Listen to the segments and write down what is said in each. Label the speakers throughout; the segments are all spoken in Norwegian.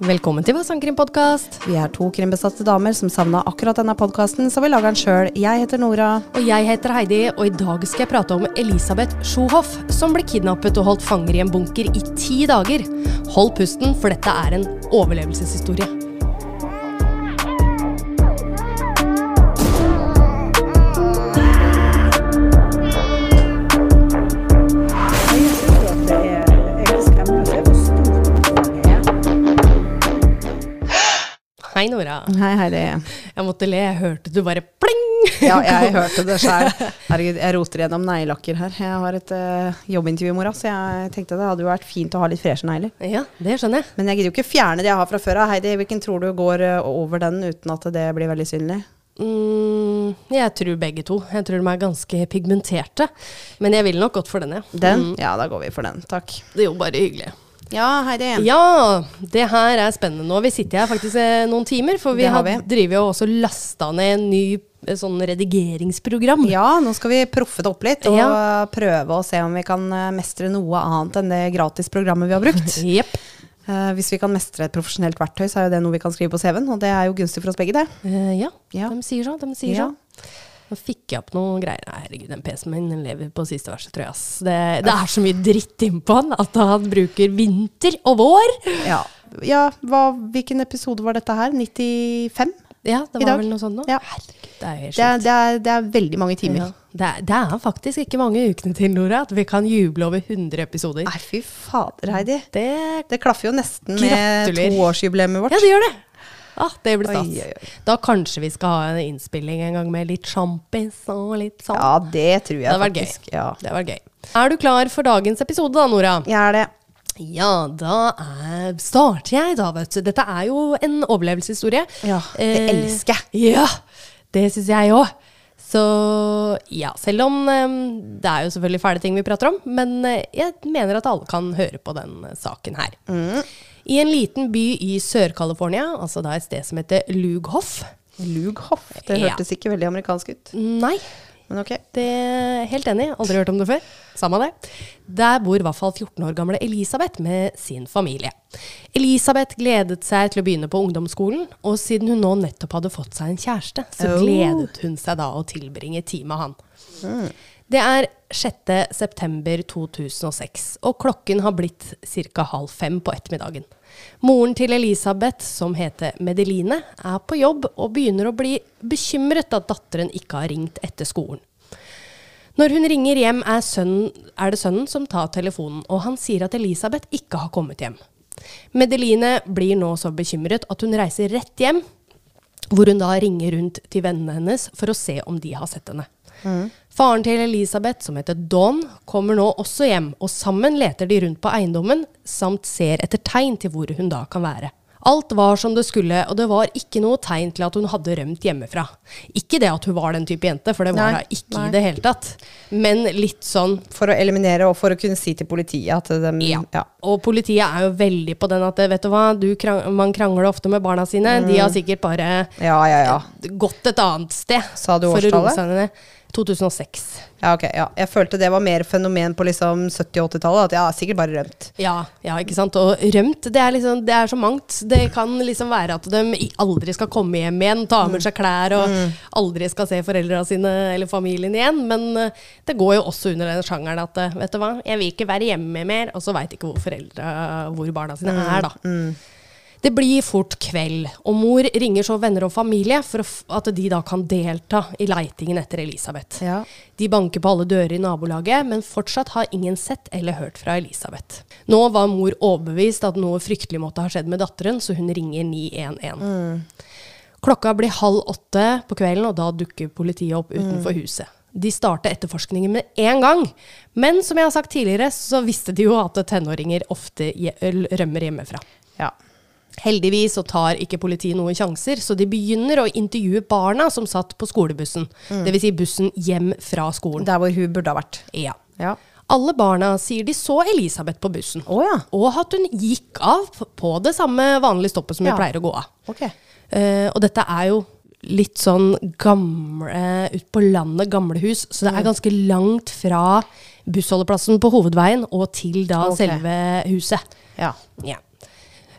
Speaker 1: Velkommen til Hva sangkrim-podkast.
Speaker 2: Vi er to krimbesatte damer som savna akkurat denne podkasten, så vi lager den sjøl. Jeg heter Nora.
Speaker 1: Og jeg heter Heidi, og i dag skal jeg prate om Elisabeth Sjohoff, som ble kidnappet og holdt fanger i en bunker i ti dager. Hold pusten, for dette er en overlevelseshistorie. Hei, Nora.
Speaker 2: Hei, Heidi.
Speaker 1: Jeg måtte le. Jeg hørte du bare pling!
Speaker 2: Ja, jeg hørte det sjøl. Herregud, jeg roter gjennom neglelakker her. Jeg har et eh, jobbintervju i morgen, så jeg tenkte det hadde jo vært fint å ha litt freshe negler.
Speaker 1: Ja, det skjønner jeg.
Speaker 2: Men jeg gidder jo ikke fjerne det jeg har fra før av. Heidi, hvilken tror du går eh, over den uten at det blir veldig synlig?
Speaker 1: Mm, jeg tror begge to. Jeg tror de er ganske pigmenterte. Men jeg ville nok gått for denne.
Speaker 2: Den? Ja, da går vi for den. Takk.
Speaker 1: Det er jo bare hyggelig.
Speaker 2: Mm. Ja, Heidi.
Speaker 1: Ja, det her er spennende. Nå har vi sittet her faktisk eh, noen timer, for vi
Speaker 2: Det
Speaker 1: har
Speaker 2: har vi.
Speaker 1: driver jo også lasta ned en ny eh, sånn redigeringsprogram.
Speaker 2: Ja, nå skal vi proffe det opp litt og
Speaker 1: Ja.
Speaker 2: eh, prøve å se om vi kan eh, mestre noe annet enn det gratisprogrammet vi har brukt.
Speaker 1: Jepp.
Speaker 2: Eh, hvis vi kan mestre et profesjonelt verktøy, så er jo det noe vi kan skrive på CV-en, og det er jo gunstig for oss begge, det.
Speaker 1: Eh, ja,
Speaker 2: Ja.
Speaker 1: de sier så. De sier
Speaker 2: Ja.
Speaker 1: så. Nå fikk jeg opp noen greier. Nei, Herregud, den PC-en min den lever på siste verset, tror jeg. Ass. Det, det er så mye dritt innpå han at han bruker vinter og vår.
Speaker 2: Ja, ja hva, hvilken episode var dette her? 95?
Speaker 1: Ja, det
Speaker 2: I
Speaker 1: var
Speaker 2: dag.
Speaker 1: vel noe sånt nå.
Speaker 2: Ja.
Speaker 1: Herregud, det er jo helt
Speaker 2: Det er, det, er, det er veldig mange timer.
Speaker 1: Ja. Det, er, det er faktisk ikke mange ukene til, Nora, at vi kan juble over 100 episoder.
Speaker 2: Nei, fy fader, Heidi.
Speaker 1: Det
Speaker 2: Det klaffer jo nesten med
Speaker 1: Gratulerer.
Speaker 2: toårsjubileet vårt.
Speaker 1: Ja, det gjør det. Ah, det blir stas.
Speaker 2: Oi, oi,
Speaker 1: Da kanskje vi skal ha en innspilling en gang med litt sjampis og litt sånn.
Speaker 2: Ja, det tror jeg
Speaker 1: det hadde vært gøy.
Speaker 2: faktisk. Ja.
Speaker 1: Det var gøy. Er du klar for dagens episode da, Nora?
Speaker 2: Jeg er det.
Speaker 1: Ja, da er, starter jeg da, vet du. Dette er jo en overlevelseshistorie.
Speaker 2: Ja, det elsker
Speaker 1: jeg. Ja, det syns jeg òg. Så ja, selv om eh, det er jo selvfølgelig fæle ting vi prater om, men eh, jeg mener at alle kan høre på den eh, saken her.
Speaker 2: Mm.
Speaker 1: I en liten by i Sør-California, altså da et sted som heter Lughoff
Speaker 2: Lughoff. Det
Speaker 1: Ja.
Speaker 2: hørtes ikke veldig amerikansk ut.
Speaker 1: Nei,
Speaker 2: Men ok.
Speaker 1: det helt enig. Aldri hørt om det før. Samme det. Der bor i hvert fall 14 år gamle Elisabeth med sin familie. Elisabeth gledet seg til å begynne på ungdomsskolen, og siden hun nå nettopp hadde fått seg en kjæreste, så
Speaker 2: Oh.
Speaker 1: gledet hun seg da å tilbringe tid med han. Det er 6. september 2006, og klokken har blitt ca. halv fem på ettermiddagen. Moren til Elisabeth, som heter Medeline, er på jobb og begynner å bli bekymret at datteren ikke har ringt etter skolen. Når hun ringer hjem, er, sønnen, er det sønnen som tar telefonen, og han sier at Elisabeth ikke har kommet hjem. Medeline blir nå så bekymret at hun reiser rett hjem, hvor hun da ringer rundt til vennene hennes for å se om de har sett henne. Faren til Elisabeth, som heter Don, kommer nå også hjem, og sammen leter de rundt på eiendommen, samt ser etter tegn til hvor hun da kan være. Alt var som det skulle, og det var ikke noe tegn til at hun hadde rømt hjemmefra. Ikke det at hun var den type jente, for det var
Speaker 2: Nei,
Speaker 1: da ikke
Speaker 2: nei.
Speaker 1: i det hele tatt. Men litt sånn
Speaker 2: For å eliminere og for å kunne si til politiet at de
Speaker 1: ja.
Speaker 2: ja.
Speaker 1: Og politiet er jo veldig på den at vet du hva, du krang man krangler ofte med barna sine. De
Speaker 2: Mm.
Speaker 1: har sikkert bare
Speaker 2: Ja, ja, ja.
Speaker 1: gått et annet sted.
Speaker 2: Sa du
Speaker 1: for å roe
Speaker 2: årstallet?
Speaker 1: seg ned. 2006.
Speaker 2: Ja, ok. Ja. Jeg følte det var mer fenomen på liksom 70- og 80-tallet. At jeg har sikkert bare rømt.
Speaker 1: Ja, ja, ikke sant. Og rømt, det er, liksom, det er så mangt. Det kan liksom være at de i- aldri skal komme hjem igjen, ta med seg klær og aldri skal se foreldra sine eller familien igjen. Men eh, det går jo også under den sjangeren at eh, vet du hva, jeg vil ikke være hjemme mer, og så veit ikke hvor foreldra, hvor barna sine er, da. Det blir fort kveld, og mor ringer så venner og familie for å f- at de da kan delta i leitingen etter Elisabeth.
Speaker 2: Ja.
Speaker 1: De banker på alle dører i nabolaget, men fortsatt har ingen sett eller hørt fra Elisabeth. Nå var mor overbevist at noe fryktelig måtte ha skjedd med datteren, så hun ringer 911. Klokka blir halv åtte på kvelden, og da dukker politiet opp utenfor huset. De starter etterforskningen med en gang, men som jeg har sagt tidligere, så visste de jo at tenåringer ofte je- rømmer hjemmefra.
Speaker 2: Ja.
Speaker 1: Heldigvis så tar ikke politiet noen sjanser, så de begynner å intervjue barna som satt på skolebussen.
Speaker 2: Mm.
Speaker 1: Det vil Si bussen hjem fra skolen.
Speaker 2: Der hvor hun burde ha vært.
Speaker 1: Ja.
Speaker 2: Ja.
Speaker 1: Alle barna sier de så Elisabeth på bussen,
Speaker 2: Å ja.
Speaker 1: og at hun gikk av på det samme vanlige stoppet som hun
Speaker 2: Ja.
Speaker 1: pleier å gå av.
Speaker 2: Ok.
Speaker 1: Eh, og dette er jo litt sånn gamle Ut på landet, gamle hus. Så
Speaker 2: Mm.
Speaker 1: det er ganske langt fra bussholdeplassen på hovedveien og til da
Speaker 2: Ok.
Speaker 1: selve huset.
Speaker 2: Ja.
Speaker 1: Ja.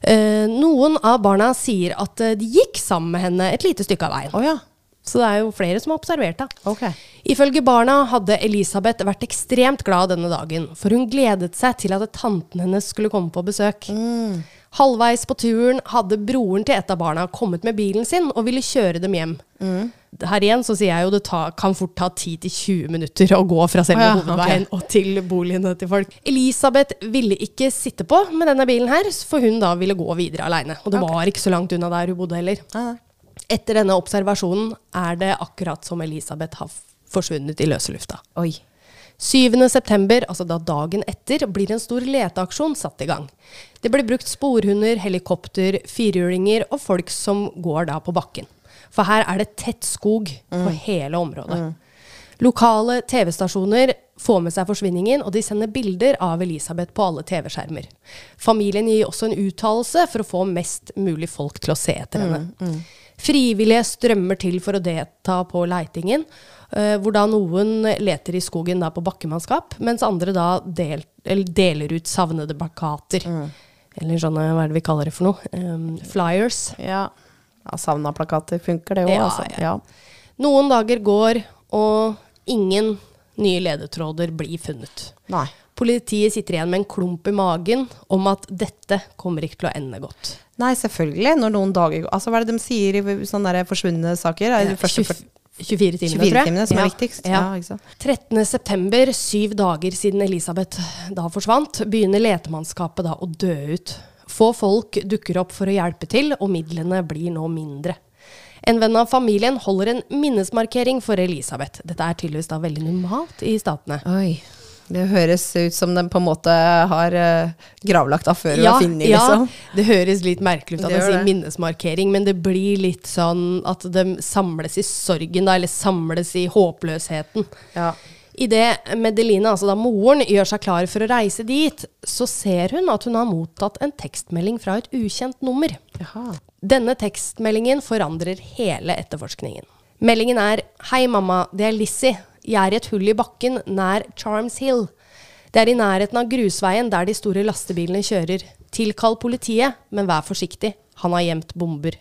Speaker 1: Eh, noen av barna sier at eh, de gikk sammen med henne et lite stykke av veien.
Speaker 2: Å ja.
Speaker 1: Så det er jo flere som har observert det.
Speaker 2: Ok.
Speaker 1: Ifølge barna hadde Elisabeth vært ekstremt glad denne dagen, for hun gledet seg til at tanten hennes skulle komme på besøk.
Speaker 2: Mm.
Speaker 1: Halvveis på turen hadde broren til et av barna kommet med bilen sin og ville kjøre dem hjem.
Speaker 2: Mm.
Speaker 1: Her igjen så sier jeg jo det ta, kan fort ta 10-20 minutter å gå fra selve
Speaker 2: Å ja, ok.
Speaker 1: hovedveien og til boligene til folk. Elisabeth ville ikke sitte på med denne bilen her, for hun da ville gå videre aleine. Og det var ikke så langt unna der hun bodde heller.
Speaker 2: Nei, nei.
Speaker 1: Etter denne observasjonen er det akkurat som Elisabeth har forsvunnet i løse lufta.
Speaker 2: Oi.
Speaker 1: 7. september, altså da dagen etter, blir en stor leteaksjon satt i gang. Det blir brukt sporhunder, helikopter, firhjulinger og folk som går da på bakken. For her er det tett skog på hele området. Lokale TV-stasjoner får med seg forsvinningen, og de sender bilder av Elisabeth på alle TV-skjermer. Familien gir også en uttalelse for å få mest mulig folk til å se etter henne. Frivillige strømmer til for å delta på leitingen, eh, hvor da noen leter i skogen da på bakkemannskap, mens andre da del, eller deler ut savnede plakater.
Speaker 2: Mm.
Speaker 1: Eller sånne, hva er det vi kaller det for noe? Um, flyers.
Speaker 2: Ja. ja Savna plakater funker, det òg,
Speaker 1: Ja,
Speaker 2: altså.
Speaker 1: ja. Noen dager går, og ingen nye ledetråder blir funnet.
Speaker 2: Nei.
Speaker 1: Politiet sitter igjen med en klump i magen om at dette kommer ikke til å ende godt.
Speaker 2: Nei, selvfølgelig. Når noen dager går Altså, hva er det de sier i sånne der forsvunne saker? Er det de første
Speaker 1: 24 24 timene,
Speaker 2: 24
Speaker 1: tror jeg.
Speaker 2: timene som er
Speaker 1: Ja,
Speaker 2: viktigst. Ah,
Speaker 1: Ja.
Speaker 2: Ja, ikke sant?
Speaker 1: 13. september, syv dager siden Elisabeth da forsvant, begynner letemannskapet da å dø ut. Få folk dukker opp for å hjelpe til, og midlene blir nå mindre. En venn av familien holder en minnesmarkering for Elisabeth. Dette er tydeligvis da veldig normalt i statene.
Speaker 2: Oi. Det høres ut som de på en måte har eh, gravlagt av før og funnet, liksom.
Speaker 1: det høres litt merkelig ut at
Speaker 2: Det
Speaker 1: jeg
Speaker 2: gjør
Speaker 1: sier
Speaker 2: det.
Speaker 1: minnesmarkering, men det blir litt sånn at de samles i sorgen, da, eller samles i håpløsheten.
Speaker 2: Ja.
Speaker 1: Idet Medelina, altså da moren, gjør seg klar for å reise dit, så ser hun at hun har mottatt en tekstmelding fra et ukjent nummer.
Speaker 2: Jaha.
Speaker 1: Denne tekstmeldingen forandrer hele etterforskningen. Meldingen er Hei, mamma. Det er Lizzie. Jeg er i et hull i bakken nær Charms Hill. Det er i nærheten av grusveien der de store lastebilene kjører. Tilkall politiet, men vær forsiktig. Han har gjemt bomber.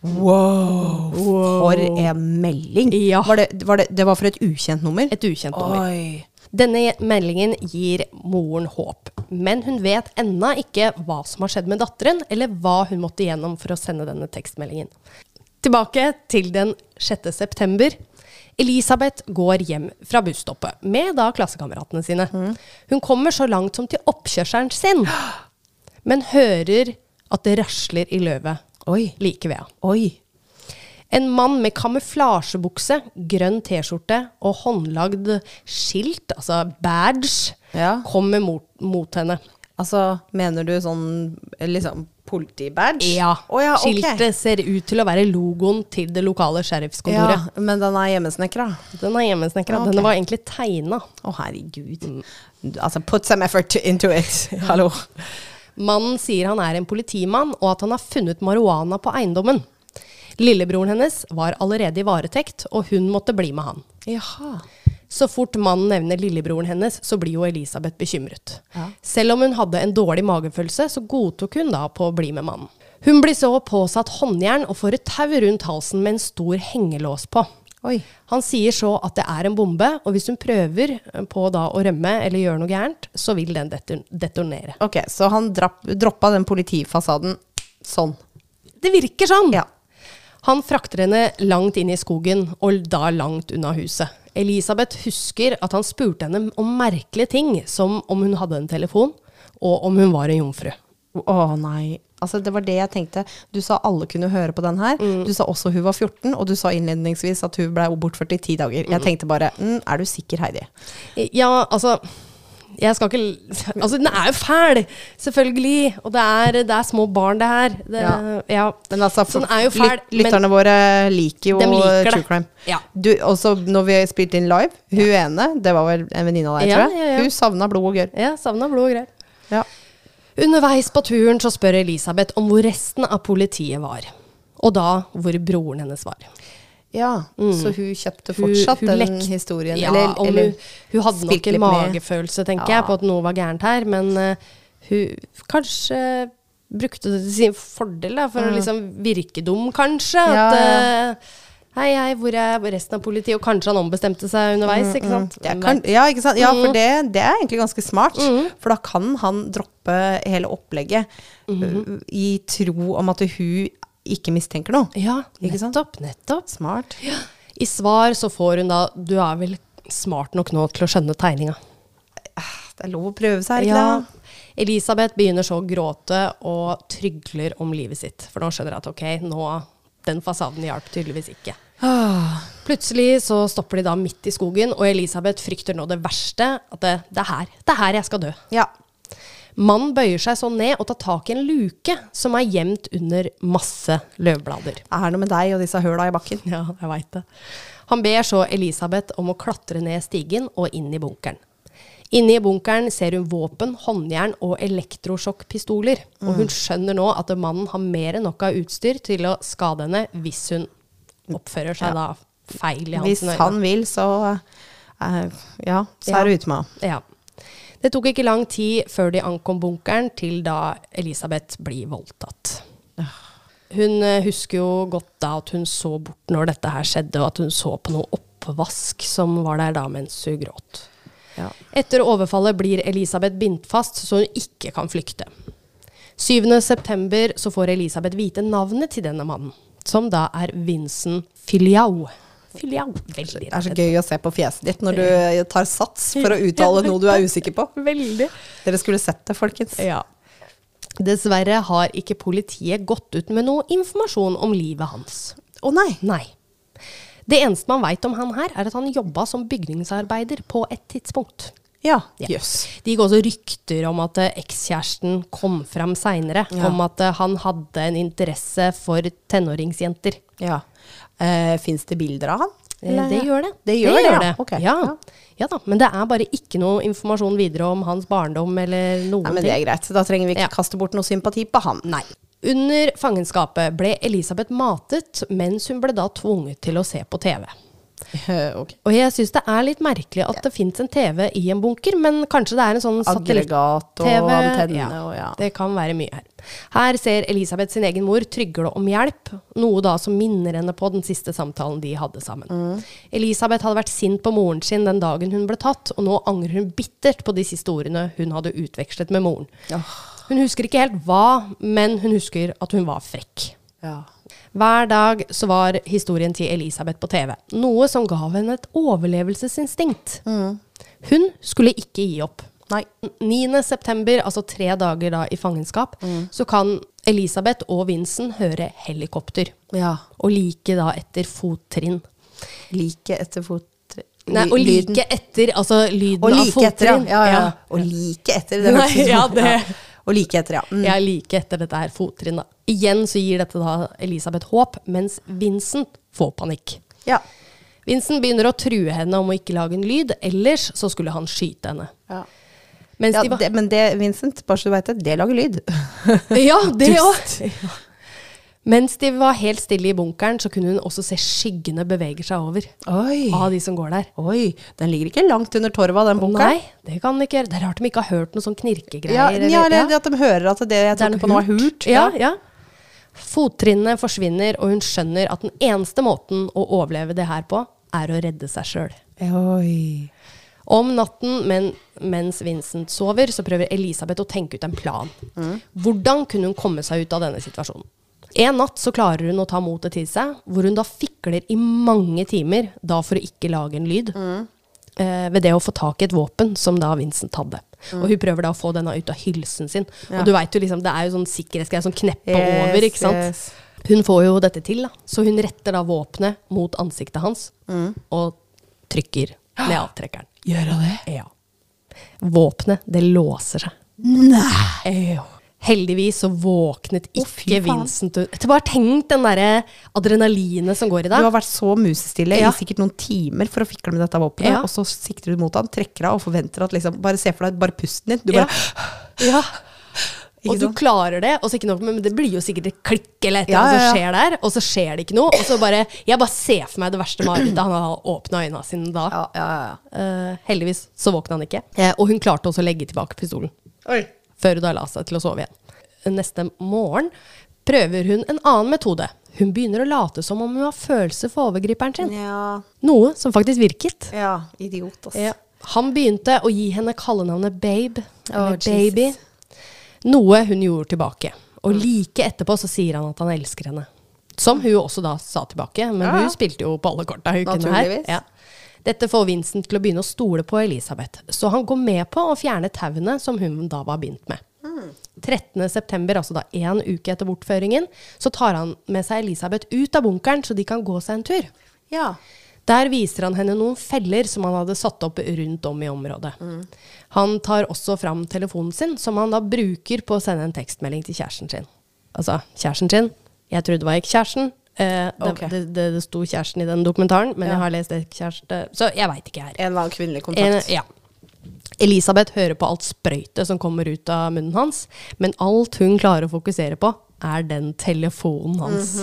Speaker 2: Wow. For en melding!
Speaker 1: Ja.
Speaker 2: Var det, var det, det var for et ukjent nummer?
Speaker 1: Et ukjent nummer.
Speaker 2: Oi.
Speaker 1: Denne meldingen gir moren håp, men hun vet ennå ikke hva som har skjedd med datteren, eller hva hun måtte igjennom for å sende denne tekstmeldingen. Tilbake til den 6. september. Elisabeth går hjem fra busstoppet med da klassekameratene sine. Hun kommer så langt som til oppkjørselen sin, men hører at det rasler i løvet
Speaker 2: Oi.
Speaker 1: like ved henne.
Speaker 2: Oi.
Speaker 1: En mann med kamuflasjebukse, grønn T-skjorte og håndlagd skilt, altså badge,
Speaker 2: Ja.
Speaker 1: kommer mot, mot henne.
Speaker 2: Altså, mener du sånn liksom politibadge?
Speaker 1: Ja.
Speaker 2: Å ja, ok.
Speaker 1: Skiltet ser ut til å være logoen til det lokale sheriffskontoret.
Speaker 2: Ja, men den er hjemmesnekra.
Speaker 1: Den er hjemmesnekra.
Speaker 2: Ja, ok.
Speaker 1: Den var egentlig tegna.
Speaker 2: Å, herregud. Altså, put some effort into it. Hallo.
Speaker 1: Mannen sier han er en politimann, og at han har funnet marihuana på eiendommen. Lillebroren hennes var allerede i varetekt, og hun måtte bli med han.
Speaker 2: Jaha.
Speaker 1: Så fort mannen nevner lillebroren hennes, så blir jo Elisabeth bekymret.
Speaker 2: Ja.
Speaker 1: Selv om hun hadde en dårlig magefølelse, så godtok hun da på å bli med mannen. Hun blir så påsatt håndjern og får et tau rundt halsen med en stor hengelås på.
Speaker 2: Oi.
Speaker 1: Han sier så at det er en bombe, og hvis hun prøver eh, på da å rømme eller gjøre noe gærent, så vil den deton- detonere.
Speaker 2: Ok, så han drapp, droppa den politifasaden sånn.
Speaker 1: Det virker sånn!
Speaker 2: Ja.
Speaker 1: Han frakter henne langt inn i skogen, og da langt unna huset. Elisabeth husker at han spurte henne om merkelige ting, som om hun hadde en telefon, og om hun var en jomfru.
Speaker 2: Å nei. Altså, det var det jeg tenkte. Du sa alle kunne høre på den her.
Speaker 1: Mm.
Speaker 2: Du sa også hun var 14, og du sa innledningsvis at hun ble bortført i ti dager. Jeg tenkte bare mm, Er du sikker, Heidi?
Speaker 1: Ja, altså jeg skal ikke, l- altså Den er jo fæl, selvfølgelig. Og det er, det er små barn, det her. Det,
Speaker 2: Ja.
Speaker 1: ja.
Speaker 2: Men altså, for,
Speaker 1: Så den Sånn er jo fæl,
Speaker 2: lyt- lytterne våre liker jo
Speaker 1: De liker
Speaker 2: eh,
Speaker 1: det.
Speaker 2: true crime.
Speaker 1: Ja.
Speaker 2: Du, også når vi spilte inn live, hun ene, det var vel en venninne av deg,
Speaker 1: Ja,
Speaker 2: tror jeg,
Speaker 1: ja, ja.
Speaker 2: hun savna blod og gørr.
Speaker 1: ja, savna blod og greier.
Speaker 2: Ja.
Speaker 1: Underveis på turen så spør Elisabeth om hvor resten av politiet var. Og da hvor broren hennes var.
Speaker 2: ja. Så hun kjøpte
Speaker 1: Mm. Hun-
Speaker 2: fortsatt
Speaker 1: hun
Speaker 2: den
Speaker 1: lekte-
Speaker 2: historien?
Speaker 1: Ja,
Speaker 2: eller,
Speaker 1: om
Speaker 2: eller
Speaker 1: hun, hun hadde nok
Speaker 2: spilte
Speaker 1: en
Speaker 2: litt med-
Speaker 1: magefølelse, tenker
Speaker 2: Ja.
Speaker 1: jeg, på at noe var gærent her. Men eh, hun kanskje brukte det til sin fordel, da, for å liksom virke dum, kanskje.
Speaker 2: Mm. Ja,
Speaker 1: At
Speaker 2: ja.
Speaker 1: eh, Hei, hei, hvor er resten av politiet? Og kanskje han ombestemte seg underveis, ikke sant?
Speaker 2: Mm, Det er kan, ja, ikke sant? ja, for det, det er egentlig ganske smart. For da kan han droppe hele opplegget øh, i tro om at hun ikke mistenker noe.
Speaker 1: Ja,
Speaker 2: Ikke sant?
Speaker 1: nettopp, nettopp.
Speaker 2: Smart.
Speaker 1: I svar så får hun da Du er vel smart nok nå til å skjønne tegninga?
Speaker 2: Ah, Det er lov å prøve seg, er det ikke
Speaker 1: Ja.
Speaker 2: det?
Speaker 1: Elisabeth begynner så å gråte og trygler om livet sitt. For nå skjønner jeg at ok, nå Den fasaden hjalp tydeligvis ikke. Ah. Plutselig så stopper de da midt i skogen, og Elisabeth frykter nå det verste. At det, det er her. Det er her jeg skal dø.
Speaker 2: Ja.
Speaker 1: Mannen bøyer seg så ned og tar tak i en luke som er gjemt under masse løvblader.
Speaker 2: Det er noe med deg og disse høla i bakken.
Speaker 1: Ja, jeg veit det. Han ber så Elisabeth om å klatre ned stigen og inn i bunkeren. Inne i bunkeren ser hun våpen, håndjern og elektrosjokkpistoler. Og
Speaker 2: Mm.
Speaker 1: hun skjønner nå at mannen har mer enn nok av utstyr til å skade henne hvis hun oppfører seg da feil i hans
Speaker 2: Hvis
Speaker 1: øyne.
Speaker 2: han vil, så eh, Ja, så er
Speaker 1: Ja.
Speaker 2: det ute med han.
Speaker 1: Ja. Det tok ikke lang tid før de ankom bunkeren, til da Elisabeth blir voldtatt.
Speaker 2: Ah.
Speaker 1: Hun eh, husker jo godt da at hun så bort når dette her skjedde, og at hun så på noe oppvask som var der da mens hun gråt.
Speaker 2: Ja.
Speaker 1: Etter overfallet blir Elisabeth bindt fast så hun ikke kan flykte. 7. september så får Elisabeth vite navnet til denne mannen, som da er Vincent Filiau. Filiau. Veldig
Speaker 2: Det er så gøy å se på fjeset ditt når du eh, tar sats for å uttale noe du er usikker på.
Speaker 1: Veldig.
Speaker 2: Dere skulle sett det, folkens.
Speaker 1: Ja. Dessverre har ikke politiet gått ut med noe informasjon om livet hans.
Speaker 2: Å nei!
Speaker 1: Nei. Det eneste man veit om han her, er at han jobba som bygningsarbeider på et tidspunkt.
Speaker 2: Ja,
Speaker 1: Ja.
Speaker 2: jøss.
Speaker 1: Det gikk også rykter om at eh, ekskjæresten kom fram seinere,
Speaker 2: Ja.
Speaker 1: om at eh, han hadde en interesse for tenåringsjenter.
Speaker 2: Ja. Eh, Fins det bilder av han?
Speaker 1: Eh,
Speaker 2: Eller-
Speaker 1: Det gjør det.
Speaker 2: Det gjør det, ja. Ok.
Speaker 1: Ja.
Speaker 2: Ja.
Speaker 1: ja da. Men det er bare ikke noe informasjon videre om hans barndom eller noen
Speaker 2: Nei, men
Speaker 1: ting.
Speaker 2: det er greit. Da trenger vi
Speaker 1: Ja.
Speaker 2: ikke kaste bort noe sympati på han.
Speaker 1: Nei. Under fangenskapet ble Elisabeth matet mens hun ble da tvunget til å se på TV.
Speaker 2: Eh, ok.
Speaker 1: Og jeg syns det er litt merkelig at det fins en TV i en bunker, men kanskje det er en sånn
Speaker 2: Aggregat og
Speaker 1: satellitt-TV.
Speaker 2: antenne og ja.
Speaker 1: Det kan være mye her. Her ser Elisabeth sin egen mor trygle om hjelp, noe da som minner henne på den siste samtalen de hadde sammen.
Speaker 2: Mm.
Speaker 1: Elisabeth hadde vært sint på moren sin den dagen hun ble tatt, og nå angrer hun bittert på de siste ordene hun hadde utvekslet med moren. Hun husker ikke helt hva, men hun husker at hun var frekk.
Speaker 2: Ja.
Speaker 1: Hver dag så var historien til Elisabeth på TV, noe som gav henne et overlevelsesinstinkt.
Speaker 2: Mm.
Speaker 1: Hun skulle ikke gi opp.
Speaker 2: Nei.
Speaker 1: 9. september, altså tre dager da i fangenskap,
Speaker 2: Mm.
Speaker 1: så kan Elisabeth og Vincent høre helikopter.
Speaker 2: Ja.
Speaker 1: Og like da etter fottrinn.
Speaker 2: Like etter fot...
Speaker 1: Nei, og
Speaker 2: lyden.
Speaker 1: like etter, altså lyden
Speaker 2: og
Speaker 1: av
Speaker 2: like etter, ja.
Speaker 1: fottrinn.
Speaker 2: ja, ja. Og like etter. Det
Speaker 1: Nei,
Speaker 2: hørtes ut som-
Speaker 1: ja, det-
Speaker 2: Og like etter, ja. Mm.
Speaker 1: Jeg liker etter dette her fottrinn, da. Igjen så gir dette da Elisabeth håp, mens Vincent får panikk.
Speaker 2: ja.
Speaker 1: Vincent begynner å true henne om å ikke lage en lyd, ellers så skulle han skyte henne.
Speaker 2: ja.
Speaker 1: Mens
Speaker 2: Ja,
Speaker 1: de var
Speaker 2: det, men det, Vincent, bare så du veit det, det lager lyd.
Speaker 1: Ja, det
Speaker 2: Dust.
Speaker 1: òg! Mens de var helt stille i bunkeren, så kunne hun også se skyggene bevege seg over.
Speaker 2: Oi.
Speaker 1: Av de som går der.
Speaker 2: Oi, den ligger ikke langt under torva, den bunkeren.
Speaker 1: Nei, det kan de ikke gjøre. Det er rart de ikke har hørt noen sånn knirkegreier.
Speaker 2: Ja,
Speaker 1: eller-
Speaker 2: ja, eller at de hører at det jeg
Speaker 1: Det er
Speaker 2: tok
Speaker 1: noe
Speaker 2: på nå er hult.
Speaker 1: Ja, ja. Fottrinnene forsvinner, og hun skjønner at den eneste måten å overleve det her på, er å redde seg sjøl.
Speaker 2: Oi.
Speaker 1: Om natten men, mens Vincent sover, så prøver Elisabeth å tenke ut en plan.
Speaker 2: Mm.
Speaker 1: Hvordan kunne hun komme seg ut av denne situasjonen? En natt så klarer hun å ta motet til seg, hvor hun da fikler i mange timer, da for å ikke lage en lyd,
Speaker 2: Mm.
Speaker 1: eh, ved det å få tak i et våpen som da Vincent hadde. Og hun prøver da å få denne ut av hylsen sin.
Speaker 2: Mm. Ja.
Speaker 1: Og du vet jo liksom, det er jo sånn sikkerhetsgreie som knepper
Speaker 2: Yes,
Speaker 1: over, ikke sant?
Speaker 2: yes.
Speaker 1: Hun får jo dette til, da. Så hun retter da våpenet mot ansiktet hans,
Speaker 2: Mm.
Speaker 1: og trykker med avtrekkeren.
Speaker 2: Gjør hun det?
Speaker 1: Ja. Våpenet, det låser seg.
Speaker 2: Nei!
Speaker 1: Ejo. Heldigvis så våknet
Speaker 2: Å, fy
Speaker 1: ikke
Speaker 2: faen.
Speaker 1: Vincent ut. Bare tenk den derre adrenalinet som går i
Speaker 2: Du
Speaker 1: deg.
Speaker 2: har vært så musestille
Speaker 1: Ja.
Speaker 2: i sikkert noen timer for å fikle med dette våpenet,
Speaker 1: Ja.
Speaker 2: og så sikter du mot han, trekker av og forventer at liksom Bare se for deg bare pusten din. Du
Speaker 1: Ja.
Speaker 2: bare
Speaker 1: ja.
Speaker 2: Ikke
Speaker 1: Og du
Speaker 2: sant?
Speaker 1: klarer det, og så ikke nok, men det blir jo sikkert et klikk eller et eller
Speaker 2: Ja,
Speaker 1: annet som
Speaker 2: ja,
Speaker 1: skjer der, og så skjer det ikke noe. Og så bare, jeg bare ser for meg det verste marerittet. Han har åpna øynene sine da.
Speaker 2: Ja, ja, ja.
Speaker 1: Eh, heldigvis så våkna han ikke. Eh, og hun klarte også å legge tilbake pistolen.
Speaker 2: Oi.
Speaker 1: før hun da la seg til å sove igjen. neste morgen prøver hun en annen metode. Hun begynner å late som om hun har følelser for overgriperen sin.
Speaker 2: Ja,
Speaker 1: Noe som faktisk virket.
Speaker 2: ja idiot, ass.
Speaker 1: Ja. Han begynte å gi henne kallenavnet Babe,
Speaker 2: Åh,
Speaker 1: eller Baby,
Speaker 2: Jesus.
Speaker 1: noe hun gjorde tilbake. Og like etterpå så sier han at han elsker henne. Som hun også da sa tilbake, men
Speaker 2: Ja, ja.
Speaker 1: hun spilte jo på alle korta. hun kunne her.
Speaker 2: Naturligvis.
Speaker 1: Ja. Dette får Vincent til å begynne å stole på Elisabeth, så han går med på å fjerne tauene som hun da var begynt med. 13. september, altså da én uke etter bortføringen, så tar han med seg Elisabeth ut av bunkeren, så de kan gå seg en tur.
Speaker 2: Ja.
Speaker 1: Der viser han henne noen feller som han hadde satt opp rundt om i området. Han tar også fram telefonen sin, som han da bruker på å sende en tekstmelding til kjæresten sin. Altså, kjæresten sin. Jeg trodde det var ekskjæresten. Eh, det,
Speaker 2: Ok.
Speaker 1: det, det, det sto kjæresten i den dokumentaren, men
Speaker 2: Ja.
Speaker 1: jeg har lest ekskjæreste, så jeg veit ikke her.
Speaker 2: En eller annen kvinnelig
Speaker 1: En,
Speaker 2: kontakt.
Speaker 1: ja. Elisabeth hører på alt sprøytet som kommer ut av munnen hans, men alt hun klarer å fokusere på, er den telefonen hans.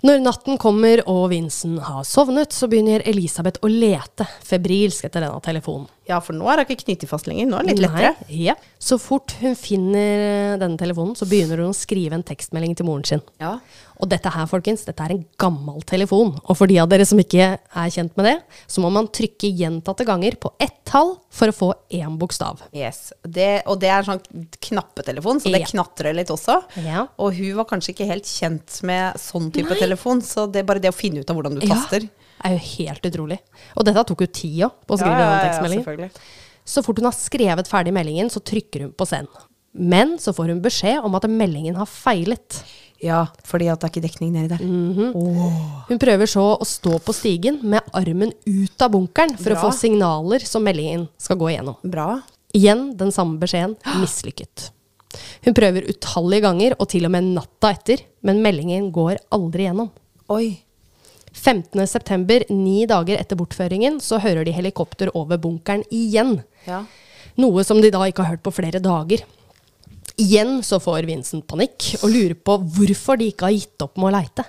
Speaker 1: Når natten kommer og Vincent har sovnet, så begynner Elisabeth å lete febrilsk etter denne telefonen.
Speaker 2: Ja, for nå er hun ikke knyttet fast lenger. Nå er det litt lettere.
Speaker 1: Nei, ja. Så fort hun finner eh, denne telefonen, så begynner hun å skrive en tekstmelding til moren sin.
Speaker 2: Ja.
Speaker 1: Og dette her, folkens, dette er en gammel telefon. Og for de av dere som ikke er kjent med det, så må man trykke gjentatte ganger på ett tall for å få én bokstav.
Speaker 2: Yes. Det, og det er en sånn knappetelefon, så det
Speaker 1: Ja.
Speaker 2: knatrer litt også.
Speaker 1: Ja.
Speaker 2: Og hun var kanskje ikke helt kjent med sånn type
Speaker 1: Nei.
Speaker 2: telefon, så det er bare det å finne ut av hvordan du taster.
Speaker 1: Ja, er jo helt utrolig. Og dette tok jo tid også, på å skrive den tekstmeldingen.
Speaker 2: selvfølgelig.
Speaker 1: Så fort hun har skrevet ferdig meldingen, så trykker hun på send. Men så får hun beskjed om at meldingen har feilet.
Speaker 2: Ja, fordi at det er ikke dekning nedi der.
Speaker 1: Mhm.
Speaker 2: Åh.
Speaker 1: Hun prøver så å stå på stigen med armen ut av bunkeren for å
Speaker 2: Bra.
Speaker 1: få signaler som meldingen skal gå igjennom.
Speaker 2: Bra.
Speaker 1: Igjen den samme beskjeden, mislykket. Hun prøver utallige ganger, og til og med natta etter, men meldingen går aldri gjennom.
Speaker 2: Oi.
Speaker 1: 15. september, ni dager etter bortføringen, så hører de helikopter over bunkeren igjen.
Speaker 2: Ja.
Speaker 1: Noe som de da ikke har hørt på flere dager. Igjen så får Vincent panikk, og lurer på hvorfor de ikke har gitt opp med å leite.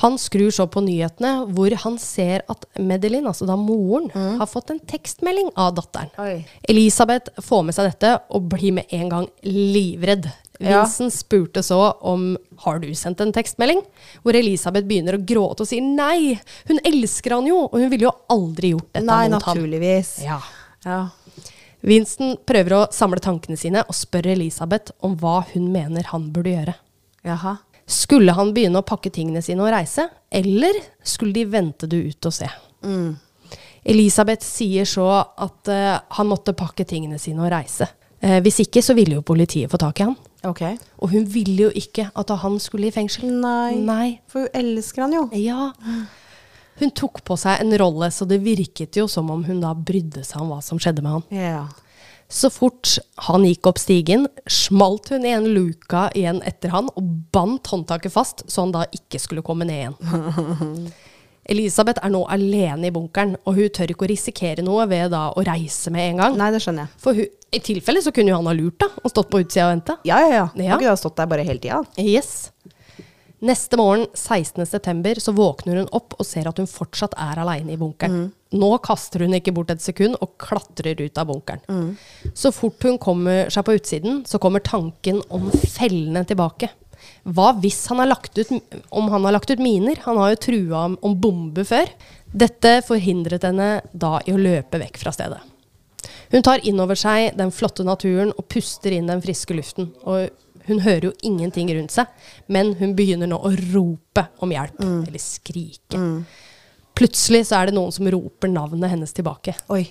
Speaker 1: Han skrur så på nyhetene, hvor han ser at Medelin, altså da moren, har fått en tekstmelding av datteren.
Speaker 2: Mm. Oi.
Speaker 1: Elisabeth får med seg dette og blir med en gang livredd.
Speaker 2: Ja.
Speaker 1: Vincent spurte så om har du sendt en tekstmelding, hvor Elisabeth begynner å gråte og sier nei, hun elsker han jo, og hun ville jo aldri gjort dette
Speaker 2: Nei,
Speaker 1: mot ham.
Speaker 2: naturligvis.
Speaker 1: Ja.
Speaker 2: Ja.
Speaker 1: Vincent prøver å samle tankene sine og spør Elisabeth om hva hun mener han burde gjøre.
Speaker 2: Jaha.
Speaker 1: Skulle han begynne å pakke tingene sine og reise, eller skulle de vente du ut og se? Elisabeth sier så at eh, han måtte pakke tingene sine og reise. Eh, hvis ikke, så ville jo politiet få tak i han.
Speaker 2: Ok.
Speaker 1: Og hun ville jo ikke at han skulle i fengsel.
Speaker 2: Nei.
Speaker 1: Nei.
Speaker 2: For hun elsker han jo.
Speaker 1: Ja. Hun tok på seg en rolle, så det virket jo som om hun da brydde seg om hva som skjedde med han.
Speaker 2: Ja.
Speaker 1: Så fort han gikk opp stigen, smalt hun igjen luka igjen etter han og bandt håndtaket fast, så han da ikke skulle komme ned igjen. Elisabeth er nå alene i bunkeren, og hun tør ikke å risikere noe ved da å reise med en gang.
Speaker 2: Nei, det skjønner jeg.
Speaker 1: For hun, i tilfelle så kunne jo han ha lurt da, og stått på utsida og venta.
Speaker 2: Ja, ja, ja.
Speaker 1: Ja.
Speaker 2: Har ikke da stått der bare hele tida?
Speaker 1: Yes. Neste morgen, 16. september, så våkner hun opp og ser at hun fortsatt er aleine i bunkeren. Nå kaster hun ikke bort et sekund og klatrer ut av bunkeren. Så fort hun kommer seg på utsiden, så kommer tanken om fellene tilbake. Hva hvis han har lagt ut, om han har lagt ut miner? Han har jo trua om, om bombe før. Dette forhindret henne da i å løpe vekk fra stedet. Hun tar inn over seg den flotte naturen og puster inn den friske luften. Og hun hører jo ingenting rundt seg, men hun begynner nå å rope om hjelp. Eller skrike. Plutselig så er det noen som roper navnet hennes tilbake.
Speaker 2: Oi.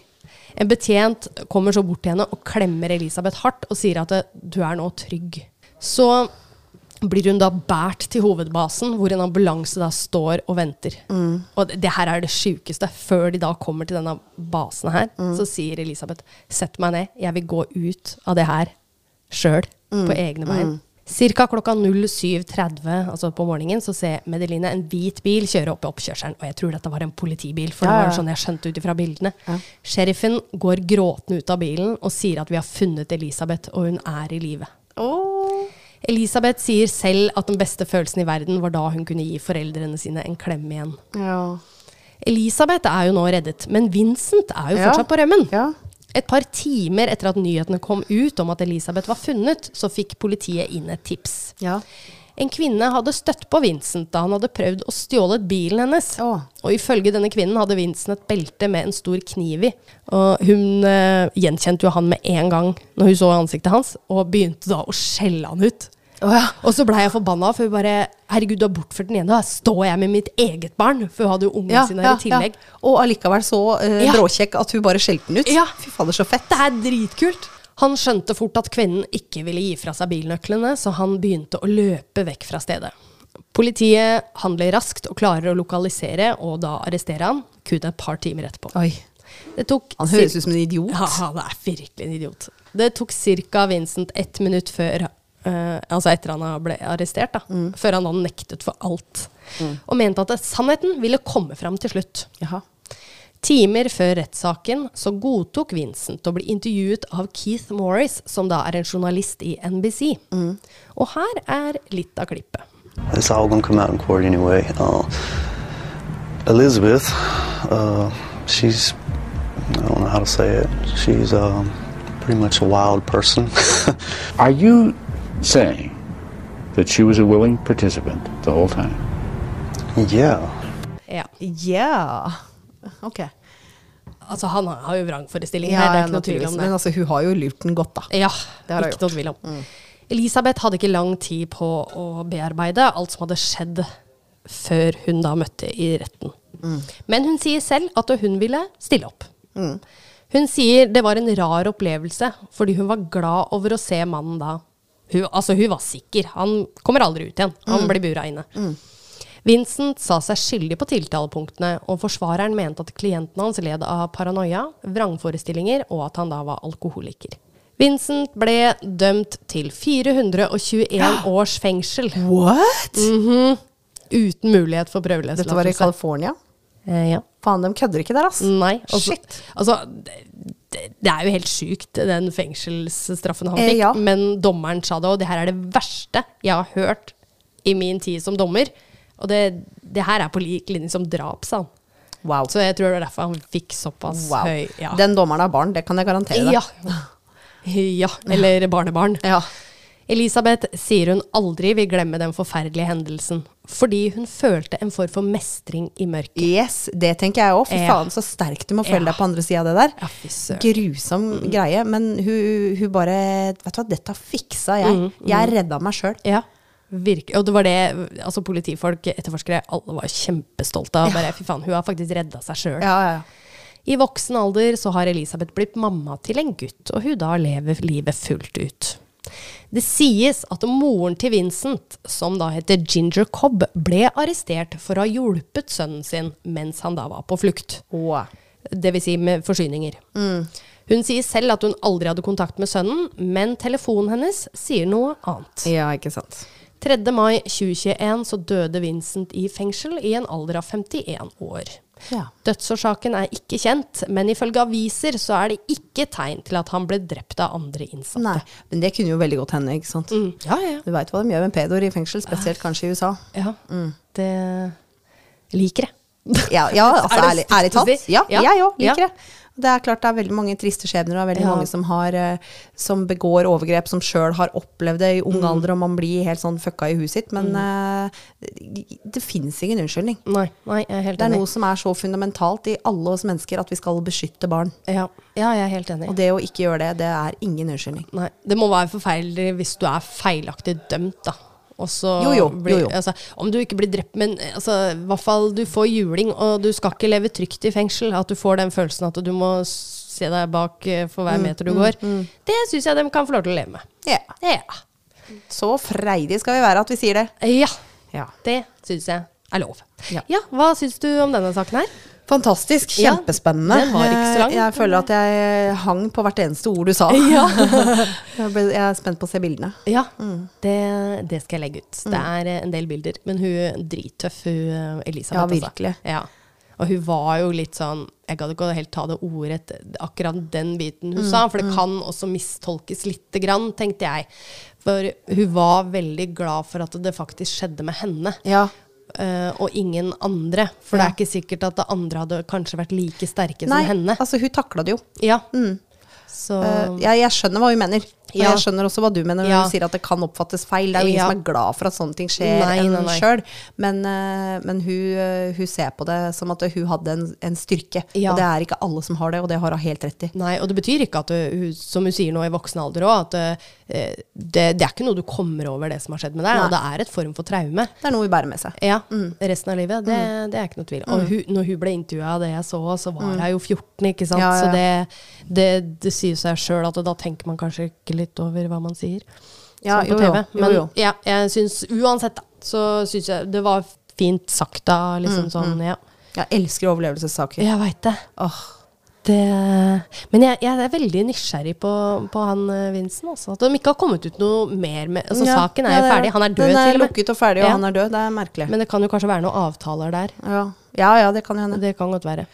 Speaker 1: En betjent kommer så bort til henne og klemmer Elisabeth hardt og sier at eh, du er nå trygg. Så blir hun da båret til hovedbasen, hvor en ambulanse da står og venter.
Speaker 2: Mm.
Speaker 1: Og det, det her er det sjukeste. Før de da kommer til denne basen her,
Speaker 2: Mm.
Speaker 1: så sier Elisabeth sett meg ned, jeg vil gå ut av det her sjøl,
Speaker 2: Mm.
Speaker 1: på egne bein. Cirka klokka 07.30 altså på morgenen, så ser Medeline en hvit bil kjøre opp i oppkjørselen. Og jeg tror dette var en politibil, for det
Speaker 2: Ja,
Speaker 1: var
Speaker 2: ja.
Speaker 1: sånn jeg skjønte ut ifra bildene. Sheriffen går gråtende ut av bilen og sier at vi har funnet Elisabeth, og hun er i live.
Speaker 2: Åh.
Speaker 1: Elisabeth sier selv at den beste følelsen i verden var da hun kunne gi foreldrene sine en klem igjen.
Speaker 2: Ja.
Speaker 1: Elisabeth er jo nå reddet, men Vincent er jo
Speaker 2: Ja.
Speaker 1: fortsatt på rømmen.
Speaker 2: Ja.
Speaker 1: Et par timer etter at nyhetene kom ut om at Elisabeth var funnet, så fikk politiet inn et tips.
Speaker 2: Ja.
Speaker 1: En kvinne hadde støtt på Vincent da han hadde prøvd å stjåle bilen hennes.
Speaker 2: Å.
Speaker 1: Og ifølge denne kvinnen hadde Vincent et belte med en stor kniv i. Og hun eh, gjenkjente jo han med en gang når hun så ansiktet hans, og begynte da å skjelle han ut. Og så blei jeg forbanna, for hun bare Herregud, du har bortført den ene, da står jeg med mitt eget barn? For hun hadde jo ungen sin her i tillegg.
Speaker 2: ja. Og allikevel så eh,
Speaker 1: Ja.
Speaker 2: bråkjekk at hun bare skjelte den ut.
Speaker 1: Ja.
Speaker 2: Fy fader, så fett.
Speaker 1: Det er dritkult. Han skjønte fort at kvinnen ikke ville gi fra seg bilnøklene, så han begynte å løpe vekk fra stedet. Politiet handler raskt og klarer å lokalisere, og da arrestere han kun et par timer etterpå.
Speaker 2: Oi.
Speaker 1: Det tok
Speaker 2: Han høres ut som en idiot.
Speaker 1: Ja, han er virkelig en idiot. Det tok ca. Vincent ett minutt før eh, altså etter han ble arrestert, da,
Speaker 2: Mm.
Speaker 1: før han hadde nektet for alt. Og mente at sannheten ville komme fram til slutt.
Speaker 2: Jaha.
Speaker 1: Timer før rettssaken så godtok Vincent å bli intervjuet av Keith Morris, som da er en journalist i NBC.
Speaker 2: Mm.
Speaker 1: Og her er litt av klippet.
Speaker 3: It's all gonna come out in court anyway. Uh, Elizabeth, uh, she's I don't know how to say it. She's um, pretty much a wild person.
Speaker 4: Are you saying that she was a willing participant the whole time?
Speaker 3: yeah,
Speaker 1: Ja.
Speaker 2: Ja. Ok.
Speaker 1: Altså, han har jo vrangforestillinger
Speaker 2: Ja,
Speaker 1: her, det
Speaker 2: ja,
Speaker 1: er ikke noe tvil
Speaker 2: naturligvis.
Speaker 1: om det.
Speaker 2: Men altså, hun har jo lurt den godt, da.
Speaker 1: Ja,
Speaker 2: Det har Mm. hun
Speaker 1: ikke noe tvil om. Elisabeth hadde ikke lang tid på å bearbeide alt som hadde skjedd før hun da møtte i retten.
Speaker 2: Mm.
Speaker 1: Men hun sier selv at hun ville stille opp. Hun sier det var en rar opplevelse, fordi hun var glad over å se mannen da. Hun, altså, hun var sikker. Han kommer aldri ut igjen. Han
Speaker 2: Mm.
Speaker 1: blir bura inne. Vincent sa seg skyldig på tiltalepunktene, og forsvareren mente at klienten hans led av paranoia, vrangforestillinger og at han da var alkoholiker. Vincent ble dømt til 421 års fengsel
Speaker 2: What?
Speaker 1: uten mulighet for prøveløslatelse.
Speaker 2: Dette var i California.
Speaker 1: Eh, ja.
Speaker 2: Faen, de kødder ikke der, ass.
Speaker 1: Nei. Altså,
Speaker 2: Shit.
Speaker 1: Altså, det- det, det er jo helt sjukt, den fengselsstraffen han
Speaker 2: Eh,
Speaker 1: fikk.
Speaker 2: ja.
Speaker 1: Men dommeren sa det, og det her er det verste jeg har hørt i min tid som dommer. Og det, det her er på lik linje som drap, sa han.
Speaker 2: Wow.
Speaker 1: Så jeg tror det var derfor han fikk såpass
Speaker 2: wow.
Speaker 1: høy ja.
Speaker 2: Den dommeren er barn, det kan jeg garantere deg.
Speaker 1: ja. ja. Eller barnebarn.
Speaker 2: Ja.
Speaker 1: Elisabeth sier hun aldri vil glemme den forferdelige hendelsen, fordi hun følte en form for mestring i mørket.
Speaker 2: Yes, det tenker jeg òg. Fy
Speaker 1: Ja.
Speaker 2: faen, så sterkt du må føle
Speaker 1: Ja.
Speaker 2: deg på andre sida av det der.
Speaker 1: Ja, fy søren.
Speaker 2: Grusom greie, men hun, hun bare Vet du hva, dette fiksa jeg. Jeg redda meg sjøl.
Speaker 1: Ja, virkelig. Og det var det altså politifolk, etterforskere, alle var kjempestolte av. Bare, fy faen, hun har faktisk redda seg sjøl.
Speaker 2: Ja, ja, ja.
Speaker 1: I voksen alder så har Elisabeth blitt mamma til en gutt, og hun da lever livet fullt ut. Det sies at moren til Vincent, som da heter Ginger Cobb, ble arrestert for å ha hjulpet sønnen sin mens han da var på flukt.
Speaker 2: Wow.
Speaker 1: Dvs. Si med forsyninger. Hun sier selv at hun aldri hadde kontakt med sønnen, men telefonen hennes sier noe annet.
Speaker 2: Ja, ikke sant.
Speaker 1: 3. mai 2021 så døde Vincent i fengsel i en alder av 51 år.
Speaker 2: Ja.
Speaker 1: Dødsårsaken er ikke kjent, men ifølge aviser så er det ikke tegn til at han ble drept av andre innsatte. Mm.
Speaker 2: Nei, men det Mm. kunne jo veldig godt hende, ikke sant.
Speaker 1: Ja, ja.
Speaker 2: Du veit hva de gjør med pedoer i fengsel, spesielt kanskje i USA.
Speaker 1: ja. Det jeg liker jeg.
Speaker 2: Mm. Ja, ja altså
Speaker 1: Er det
Speaker 2: ærlig, ærlig
Speaker 1: stygt å
Speaker 2: talt.
Speaker 1: si?
Speaker 2: Ja,
Speaker 1: Ja.
Speaker 2: jeg òg liker
Speaker 1: Ja.
Speaker 2: det. Det er klart det er veldig mange triste skjebner, og det er veldig
Speaker 1: Ja.
Speaker 2: mange som, har, eh, som begår overgrep, som sjøl har opplevd det i ung
Speaker 1: Mm.
Speaker 2: alder, og man blir helt sånn fucka i huet sitt. Men eh, det fins ingen unnskyldning.
Speaker 1: Nei, nei, jeg er helt
Speaker 2: Det er
Speaker 1: enig.
Speaker 2: noe som er så fundamentalt i alle oss mennesker, at vi skal beskytte barn.
Speaker 1: Ja. ja, jeg er helt enig.
Speaker 2: Og det å ikke gjøre det, det er ingen unnskyldning.
Speaker 1: Nei, det må være forferdelig hvis du er feilaktig dømt, da. Og så
Speaker 2: Jo, jo, jo,
Speaker 1: blir,
Speaker 2: jo.
Speaker 1: Altså, om du ikke blir drept, men eh, altså, i hvert fall du får juling, og du skal ikke leve trygt i fengsel. At du får den følelsen at du må se deg bak eh, for
Speaker 2: Mm,
Speaker 1: hver meter du går. Det syns jeg de kan få lov til å leve med.
Speaker 2: Ja.
Speaker 1: Ja,
Speaker 2: Så freidige skal vi være at vi sier det.
Speaker 1: ja
Speaker 2: Ja.
Speaker 1: det syns jeg er lov.
Speaker 2: Ja.
Speaker 1: hva syns du om denne saken her?
Speaker 2: Fantastisk.
Speaker 1: Ja,
Speaker 2: Kjempespennende.
Speaker 1: den var ikke så lang.
Speaker 2: Eh, Jeg føler at jeg hang på hvert eneste ord du sa. jeg, ble, jeg er spent på å se bildene.
Speaker 1: Ja,
Speaker 2: Mm.
Speaker 1: det, det skal jeg legge ut. Det er eh, en del bilder. Men hun er drittøff, hun eh, Elisabeth.
Speaker 2: Ja,
Speaker 1: altså.
Speaker 2: virkelig.
Speaker 1: Ja. Og hun var jo litt sånn Jeg gadd ikke å helt ta det ordet, akkurat den biten
Speaker 2: Mm,
Speaker 1: hun sa, for det kan også mistolkes lite grann, tenkte jeg. For hun var veldig glad for at det faktisk skjedde med henne.
Speaker 2: Ja.
Speaker 1: eh, og ingen andre. For det
Speaker 2: Ja.
Speaker 1: er ikke sikkert at det andre hadde kanskje vært like sterke
Speaker 2: Nei,
Speaker 1: som henne.
Speaker 2: altså hun takla det jo.
Speaker 1: Ja. Så
Speaker 2: Eh, jeg, jeg skjønner hva hun mener. Og
Speaker 1: Ja.
Speaker 2: jeg skjønner også hva du mener når
Speaker 1: Ja.
Speaker 2: hun sier at det kan oppfattes feil. Det er jo ingen
Speaker 1: Ja.
Speaker 2: som er glad for at sånne ting skjer
Speaker 1: Nei,
Speaker 2: enn
Speaker 1: nei,
Speaker 2: hun
Speaker 1: nei.
Speaker 2: sjøl. Men, eh, men hun, eh, hun ser på det som at hun hadde en, en styrke.
Speaker 1: Ja.
Speaker 2: Og det er ikke alle som har det, og det har hun helt rett i.
Speaker 1: Nei, og det betyr ikke at du, hun- som hun sier nå i voksen alder òg, at eh, det, det er ikke noe du kommer over det som har skjedd med deg.
Speaker 2: Nei. Mm.
Speaker 1: Og det er et form for traume.
Speaker 2: Det er noe hun bærer med seg.
Speaker 1: Ja, resten av livet. Det,
Speaker 2: Mm.
Speaker 1: det er ikke noe tvil. Og hun, når hun ble intervjua av det jeg så, så var hun jo 14, ikke sant.
Speaker 2: Ja, ja, ja.
Speaker 1: Så det, det, det sier seg sjøl at da tenker man kanskje ikke litt over hva man sier.
Speaker 2: Ja,
Speaker 1: sånn på
Speaker 2: jo, jo.
Speaker 1: TV.
Speaker 2: Jo,
Speaker 1: Men
Speaker 2: jo.
Speaker 1: Ja, jeg syns uansett, da, så syns jeg det var fint sagt da,
Speaker 2: Mm,
Speaker 1: liksom sånn, ja.
Speaker 2: Jeg elsker overlevelsessaker.
Speaker 1: Jeg veit det.
Speaker 2: Åh.
Speaker 1: Det, men jeg, jeg er veldig nysgjerrig på, på han eh, Vincent. Altså. At de ikke har kommet ut noe mer med altså,
Speaker 2: Ja,
Speaker 1: Saken er
Speaker 2: ja,
Speaker 1: jo
Speaker 2: det
Speaker 1: ferdig. Han er død,
Speaker 2: Den er
Speaker 1: til og med.
Speaker 2: lukket og ferdig, og
Speaker 1: Ja.
Speaker 2: han er død. Det er merkelig.
Speaker 1: Men det kan jo kanskje være noen avtaler der.
Speaker 2: ja. ja, ja, det kan jo hende.
Speaker 1: Det kan godt være.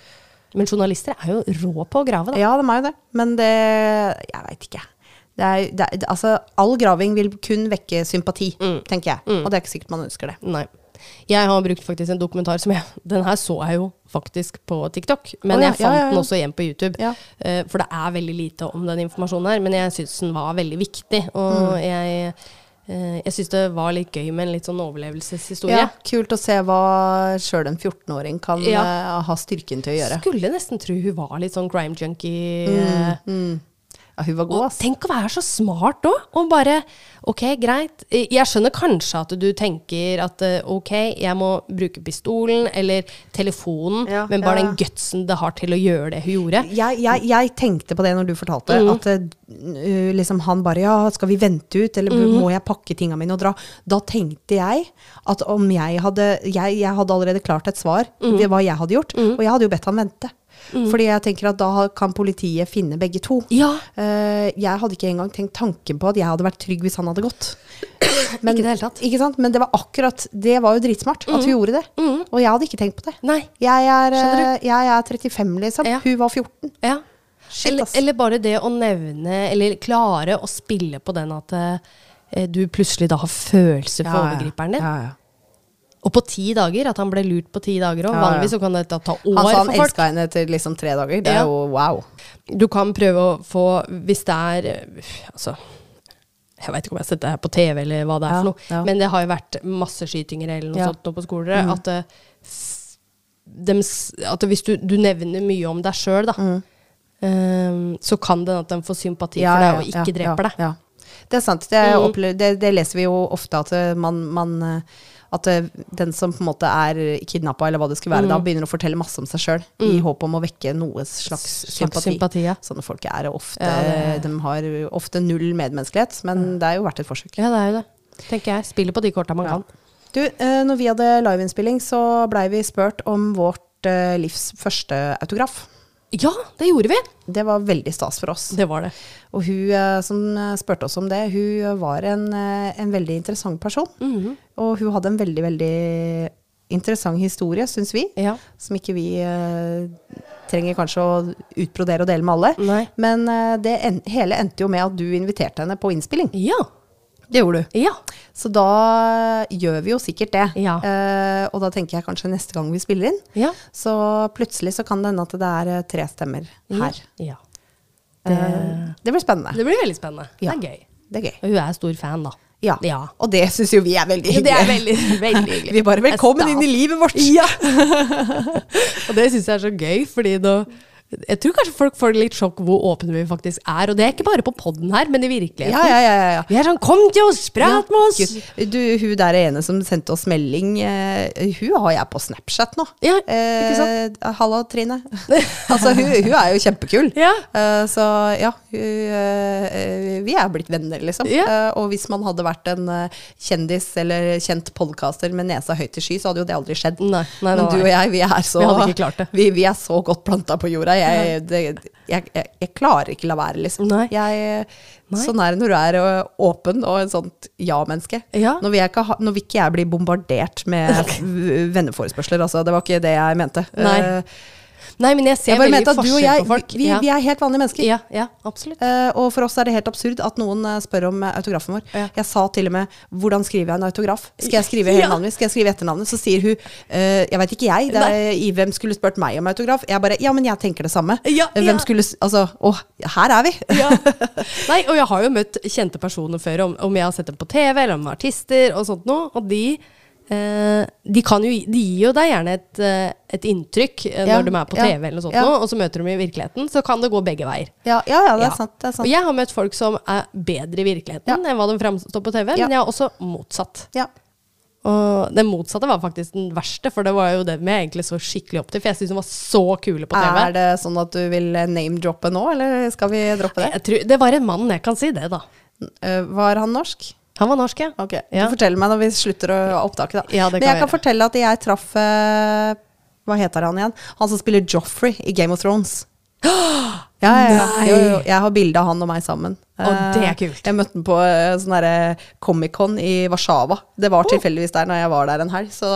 Speaker 1: Men journalister er jo rå på å grave, da.
Speaker 2: Ja, de er jo det. Men det Jeg veit ikke. Det er, det er, altså, all graving vil kun vekke sympati,
Speaker 1: Mm.
Speaker 2: tenker jeg. Og det er ikke sikkert man ønsker det.
Speaker 1: Nei. Jeg har brukt faktisk en dokumentar som jeg Den her så jeg jo faktisk på TikTok, men
Speaker 2: Å, ja,
Speaker 1: jeg fant
Speaker 2: ja, ja, ja.
Speaker 1: den også igjen på YouTube.
Speaker 2: Ja.
Speaker 1: Eh, For det er veldig lite om den informasjonen her, men jeg syns den var veldig viktig. Og
Speaker 2: Mm.
Speaker 1: jeg, eh, jeg syns det var litt gøy med en litt sånn overlevelseshistorie.
Speaker 2: Ja, kult å se hva sjøl en 14-åring kan
Speaker 1: Ja.
Speaker 2: eh, ha styrken til å gjøre.
Speaker 1: Skulle nesten tro hun var litt sånn grime junkie.
Speaker 2: Mm.
Speaker 1: eh,
Speaker 2: Ja, hun var god,
Speaker 1: Og
Speaker 2: ass.
Speaker 1: tenk å være så smart òg! Og bare Ok, greit. Eh, Jeg skjønner kanskje at du tenker at eh, ok, jeg må bruke pistolen eller telefonen,
Speaker 2: Ja,
Speaker 1: men bare
Speaker 2: ja.
Speaker 1: den gutsen det har til å gjøre det hun gjorde.
Speaker 2: Jeg, jeg, jeg tenkte på det når du fortalte,
Speaker 1: Mm.
Speaker 2: at eh, uh, liksom han bare Ja, skal vi vente ut, eller
Speaker 1: Mm.
Speaker 2: må jeg pakke tinga mine og dra? Da tenkte jeg at om jeg hadde Jeg, jeg hadde allerede klart et svar,
Speaker 1: Mm.
Speaker 2: ved hva jeg hadde gjort, og jeg hadde jo bedt han vente. Fordi jeg tenker at da ha- kan politiet finne begge to.
Speaker 1: Ja.
Speaker 2: Eh, jeg hadde ikke engang tenkt tanken på at jeg hadde vært trygg hvis han hadde gått. Men,
Speaker 1: Ikke i det hele tatt.
Speaker 2: Ikke sant? Men det var akkurat Det var jo dritsmart at hun gjorde det. Og jeg hadde ikke tenkt på det.
Speaker 1: Nei.
Speaker 2: Jeg er,
Speaker 1: Mm. Skjønner
Speaker 2: eh, jeg er 35, liksom.
Speaker 1: Ja.
Speaker 2: Hun var 14.
Speaker 1: Ja.
Speaker 2: Shit,
Speaker 1: eller,
Speaker 2: ass.
Speaker 1: eller bare det å nevne, eller klare å spille på den at eh, du plutselig da har følelser for overgriperen din. Og på ti dager, at han ble lurt på ti dager òg.
Speaker 2: Ja, ja.
Speaker 1: Vanligvis så kan dette ta år
Speaker 2: Han sa han
Speaker 1: for folk.
Speaker 2: elska henne etter liksom tre dager. Det
Speaker 1: Ja.
Speaker 2: er jo wow.
Speaker 1: Du kan prøve å få, hvis det er øh, Altså, jeg veit ikke om jeg har sett det her på TV, eller hva det er
Speaker 2: Ja,
Speaker 1: for noe,
Speaker 2: ja.
Speaker 1: men det har jo vært masseskytinger eller noe
Speaker 2: Ja.
Speaker 1: sånt nå på skoler. At, øh, s- dem s- at hvis du, du nevner mye om deg sjøl, da, øhm, så kan det at de får sympati for deg og ikke
Speaker 2: ja,
Speaker 1: dreper deg. Mm.
Speaker 2: ja. Det er sant. Det, opple- det, det leser vi jo ofte at eh, man, man eh, at eh, den som på en måte er kidnappa, eller hva det skulle være,
Speaker 1: Mm.
Speaker 2: da begynner å fortelle masse om seg sjøl, i håp om å vekke noe slags
Speaker 1: Slags
Speaker 2: sympati.
Speaker 1: sympati, ja.
Speaker 2: Sånne folk er ofte
Speaker 1: Ja,
Speaker 2: De har ofte null medmenneskelighet, men det er jo verdt et forsøk.
Speaker 1: Ja, det er jo det. Tenker jeg. Spiller på de korta man kan.
Speaker 2: Du, eh, når vi hadde liveinnspilling, så blei vi spurt om vårt eh, livs første autograf.
Speaker 1: Ja, det gjorde vi!
Speaker 2: Det var veldig stas for oss.
Speaker 1: Det var det.
Speaker 2: Og hun eh, som eh, spurte oss om det, hun var en, eh, en veldig interessant person.
Speaker 1: Mhm.
Speaker 2: Og hun hadde en veldig, veldig interessant historie, syns vi.
Speaker 1: Ja.
Speaker 2: Som ikke vi eh, trenger kanskje å utbrodere og dele med alle.
Speaker 1: Nei.
Speaker 2: Men eh, det en hele endte jo med at du inviterte henne på innspilling.
Speaker 1: Ja.
Speaker 2: Det gjorde du.
Speaker 1: Ja.
Speaker 2: Så da eh, gjør vi jo sikkert det.
Speaker 1: Ja.
Speaker 2: Eh, og da tenker jeg kanskje neste gang vi spiller inn,
Speaker 1: Ja.
Speaker 2: så plutselig så kan det hende at det er eh, tre stemmer her.
Speaker 1: Ja.
Speaker 2: Det, det blir spennende.
Speaker 1: Det blir veldig spennende.
Speaker 2: Ja.
Speaker 1: Det er gøy.
Speaker 2: Det er gøy.
Speaker 1: Og hun er stor fan, da.
Speaker 2: Ja. Og det syns jo vi er veldig
Speaker 1: Ja, det
Speaker 2: hyggelig.
Speaker 1: er veldig, veldig hyggelig.
Speaker 2: Vi bare velkommen inn i livet vårt!
Speaker 1: Ja. og det syns jeg er så gøy, fordi nå Jeg tror kanskje folk får litt sjokk hvor åpne vi faktisk er. Og det er ikke bare på poden her, men i virkeligheten.
Speaker 2: Ja, ja, ja, ja, ja.
Speaker 1: Vi er sånn 'kom til oss, prat med oss'!
Speaker 2: Gud, Du, hun der ene som sendte oss melding, eh, hun har jeg på Snapchat nå.
Speaker 1: Ja, ikke sant?
Speaker 2: Eh, Halla, Trine. altså, hun, hun er jo kjempekul.
Speaker 1: Ja.
Speaker 2: Eh, så ja, hun, eh, vi er blitt venner, liksom.
Speaker 1: Ja.
Speaker 2: Eh, og hvis man hadde vært en eh, kjendis eller kjent podkaster med nesa høyt i sky, så hadde jo det aldri skjedd.
Speaker 1: Nei, nei, nei,
Speaker 2: Men du og jeg, vi er så
Speaker 1: Vi hadde ikke klart det.
Speaker 2: Vi, vi er så godt planta på jorda. Jeg, det, jeg, jeg, jeg klarer ikke la være, liksom.
Speaker 1: Nei.
Speaker 2: Jeg,
Speaker 1: Nei.
Speaker 2: Sånn er det når du er ø, åpen og en sånt ja-menneske.
Speaker 1: Ja.
Speaker 2: Når, vil jeg ikke ha- når vil ikke jeg bli bombardert med v- venneforespørsler, altså. Det var ikke det jeg mente.
Speaker 1: Nei.
Speaker 2: Eh,
Speaker 1: Nei, men jeg ser
Speaker 2: Jeg bare
Speaker 1: veldig
Speaker 2: mente at du
Speaker 1: forskjell
Speaker 2: og jeg,
Speaker 1: på folk.
Speaker 2: vi,
Speaker 1: ja.
Speaker 2: vi er helt vanlige mennesker.
Speaker 1: ja, ja, absolutt.
Speaker 2: Eh, og for oss er det helt absurd at noen eh, spør om eh, autografen vår.
Speaker 1: Ja.
Speaker 2: Jeg sa til og med 'hvordan skriver jeg en autograf'? Skal jeg skrive hele
Speaker 1: Ja.
Speaker 2: navnet mitt? Skal jeg skrive etternavnet? Så sier hun eh, 'jeg veit ikke jeg', det er, i hvem skulle spurt meg om autograf? Jeg bare 'ja, men jeg tenker det samme'.
Speaker 1: Ja, ja.
Speaker 2: hvem skulle s- Altså, å, her er vi!
Speaker 1: Ja. Nei, og jeg har jo møtt kjente personer før, om, om jeg har sett dem på TV, eller om de er artister og sånt noe, og de eh, de, kan jo, gi- de gir jo deg gjerne et, eh, et inntrykk eh,
Speaker 2: Ja,
Speaker 1: når de er på
Speaker 2: ja,
Speaker 1: TV, eller noe sånt
Speaker 2: ja.
Speaker 1: noe, og så møter de dem i virkeligheten. Så kan det gå begge veier.
Speaker 2: Ja, ja, ja, det
Speaker 1: Ja.
Speaker 2: er sant. Det er sant.
Speaker 1: Og jeg har møtt folk som er bedre i virkeligheten enn hva de framstår på TV,
Speaker 2: Ja.
Speaker 1: men jeg har også motsatt.
Speaker 2: Ja.
Speaker 1: Og den motsatte var faktisk den verste, for det var jo dem jeg egentlig så skikkelig opp til. For jeg syntes de var så kule på TV.
Speaker 2: Er det sånn at du vil eh, name-droppe nå, eller skal vi droppe
Speaker 1: Jeg
Speaker 2: det?
Speaker 1: tror, det var en mann, jeg kan si det, da.
Speaker 2: Eh, var han norsk?
Speaker 1: Han var norsk, ja.
Speaker 2: Ok,
Speaker 1: ja.
Speaker 2: Du forteller meg når vi slutter å opptake, da.
Speaker 1: Ja, det kan
Speaker 2: Men jeg
Speaker 1: vi
Speaker 2: kan
Speaker 1: gjøre.
Speaker 2: fortelle at jeg traff eh, Hva heter han igjen? Han som spiller Joffrey i Game of Thrones. Ja, ja, ja.
Speaker 1: Nei!
Speaker 2: Jo, jo, jeg har bilde av han og meg sammen.
Speaker 1: Å, det er
Speaker 2: Eh,
Speaker 1: kult.
Speaker 2: Jeg møtte han på eh, sånn derre Comic-Con i Warszawa. Det
Speaker 1: Oh.
Speaker 2: var tilfeldigvis der når jeg var der en helg, så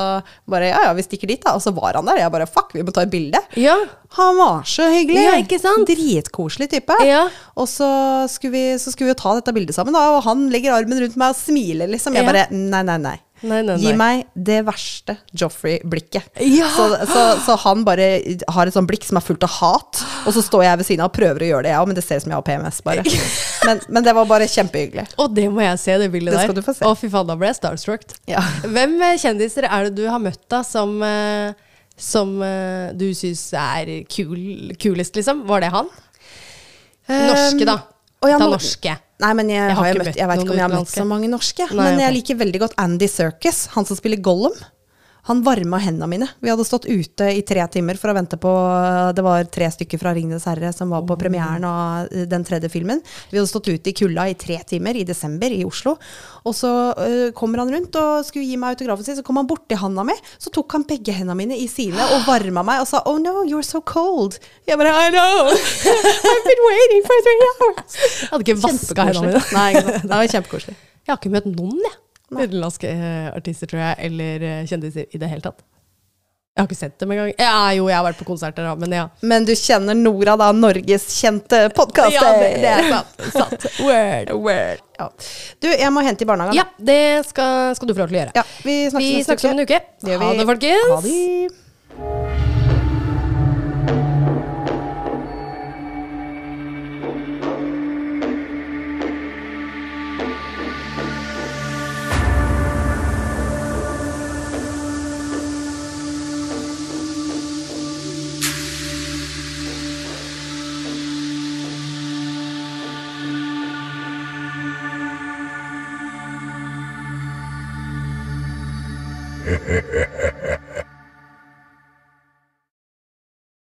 Speaker 2: bare ja, ja, vi stikker dit, da. Og så var han der. Jeg bare fuck, vi må ta et bilde.
Speaker 1: Ja.
Speaker 2: Han var så hyggelig!
Speaker 1: Ja, ikke sant?
Speaker 2: Dritkoselig type.
Speaker 1: Ja.
Speaker 2: Og så skulle, vi, så skulle vi jo ta dette bildet sammen, da, og han legger armen rundt meg og smiler, liksom. Jeg
Speaker 1: Ja.
Speaker 2: bare nei, nei, nei.
Speaker 1: Nei, nei,
Speaker 2: Gi
Speaker 1: nei.
Speaker 2: meg det verste Joffrey-blikket.
Speaker 1: Ja.
Speaker 2: Så, så, så han bare har et sånt blikk som er fullt av hat, og så står jeg ved siden av og prøver å gjøre det, jeg òg, men det ser ut som jeg har PMS, bare. Men, men det var bare kjempehyggelig.
Speaker 1: Og det må jeg se, det bildet
Speaker 2: Det
Speaker 1: der.
Speaker 2: skal du få se.
Speaker 1: Å, fy faen, da ble jeg starstruck.
Speaker 2: Ja.
Speaker 1: Hvem eh, kjendiser er det du har møtt da, som, eh, som eh, du syns er kul, kulest, liksom? Var det han? Norske, da.
Speaker 2: Ehm, Å, ja,
Speaker 1: Ta
Speaker 2: nå-
Speaker 1: norske.
Speaker 2: Nei, men jeg,
Speaker 1: Jeg har
Speaker 2: har jo
Speaker 1: ikke
Speaker 2: møtt,
Speaker 1: møtt
Speaker 2: jeg vet
Speaker 1: noen
Speaker 2: ikke om jeg har møtt
Speaker 1: utenlandske.
Speaker 2: så mange norske.
Speaker 1: Nei,
Speaker 2: men jeg
Speaker 1: ok.
Speaker 2: liker veldig godt Andy Serkis, han som spiller Gollum. Han varma hendene mine. Vi hadde stått ute i tre timer for å vente på Det var tre stykker fra 'Ringenes herre' som var på premieren av eh, den tredje filmen. Vi hadde stått ute i kulda i tre timer i desember i Oslo. Og så eh, kommer han rundt og skulle gi meg autografen sin. Så kom han borti handa mi, så tok han begge hendene mine i sine og varma meg og sa 'Oh no, you're so cold'. Jeg bare 'I know'. I've been waiting for three hours.
Speaker 1: Jeg hadde ikke vaska hendene mine.
Speaker 2: Kjempekoselig. Nei, ikke sant. det var kjempekoselig.
Speaker 1: Jeg har ikke møtt noen, jeg. Utenlandske eh, artister, tror jeg, eller eh, kjendiser i det hele tatt. Jeg har ikke sett dem engang. Ja, jo, jeg har vært på konserter, da, men ja.
Speaker 2: Men du kjenner Nora, da, Norges kjente podkaster.
Speaker 1: Ja, det, det er sant. sant. Word.
Speaker 2: Ja. Du, jeg må hente i barnehagen.
Speaker 1: Ja, det skal, skal du få lov til å gjøre.
Speaker 2: Ja, vi snakkes
Speaker 1: Vi
Speaker 2: neste
Speaker 1: snakkes om en uke.
Speaker 2: Det gjør
Speaker 1: Ha
Speaker 2: vi.
Speaker 1: det, folkens.
Speaker 2: Ha det.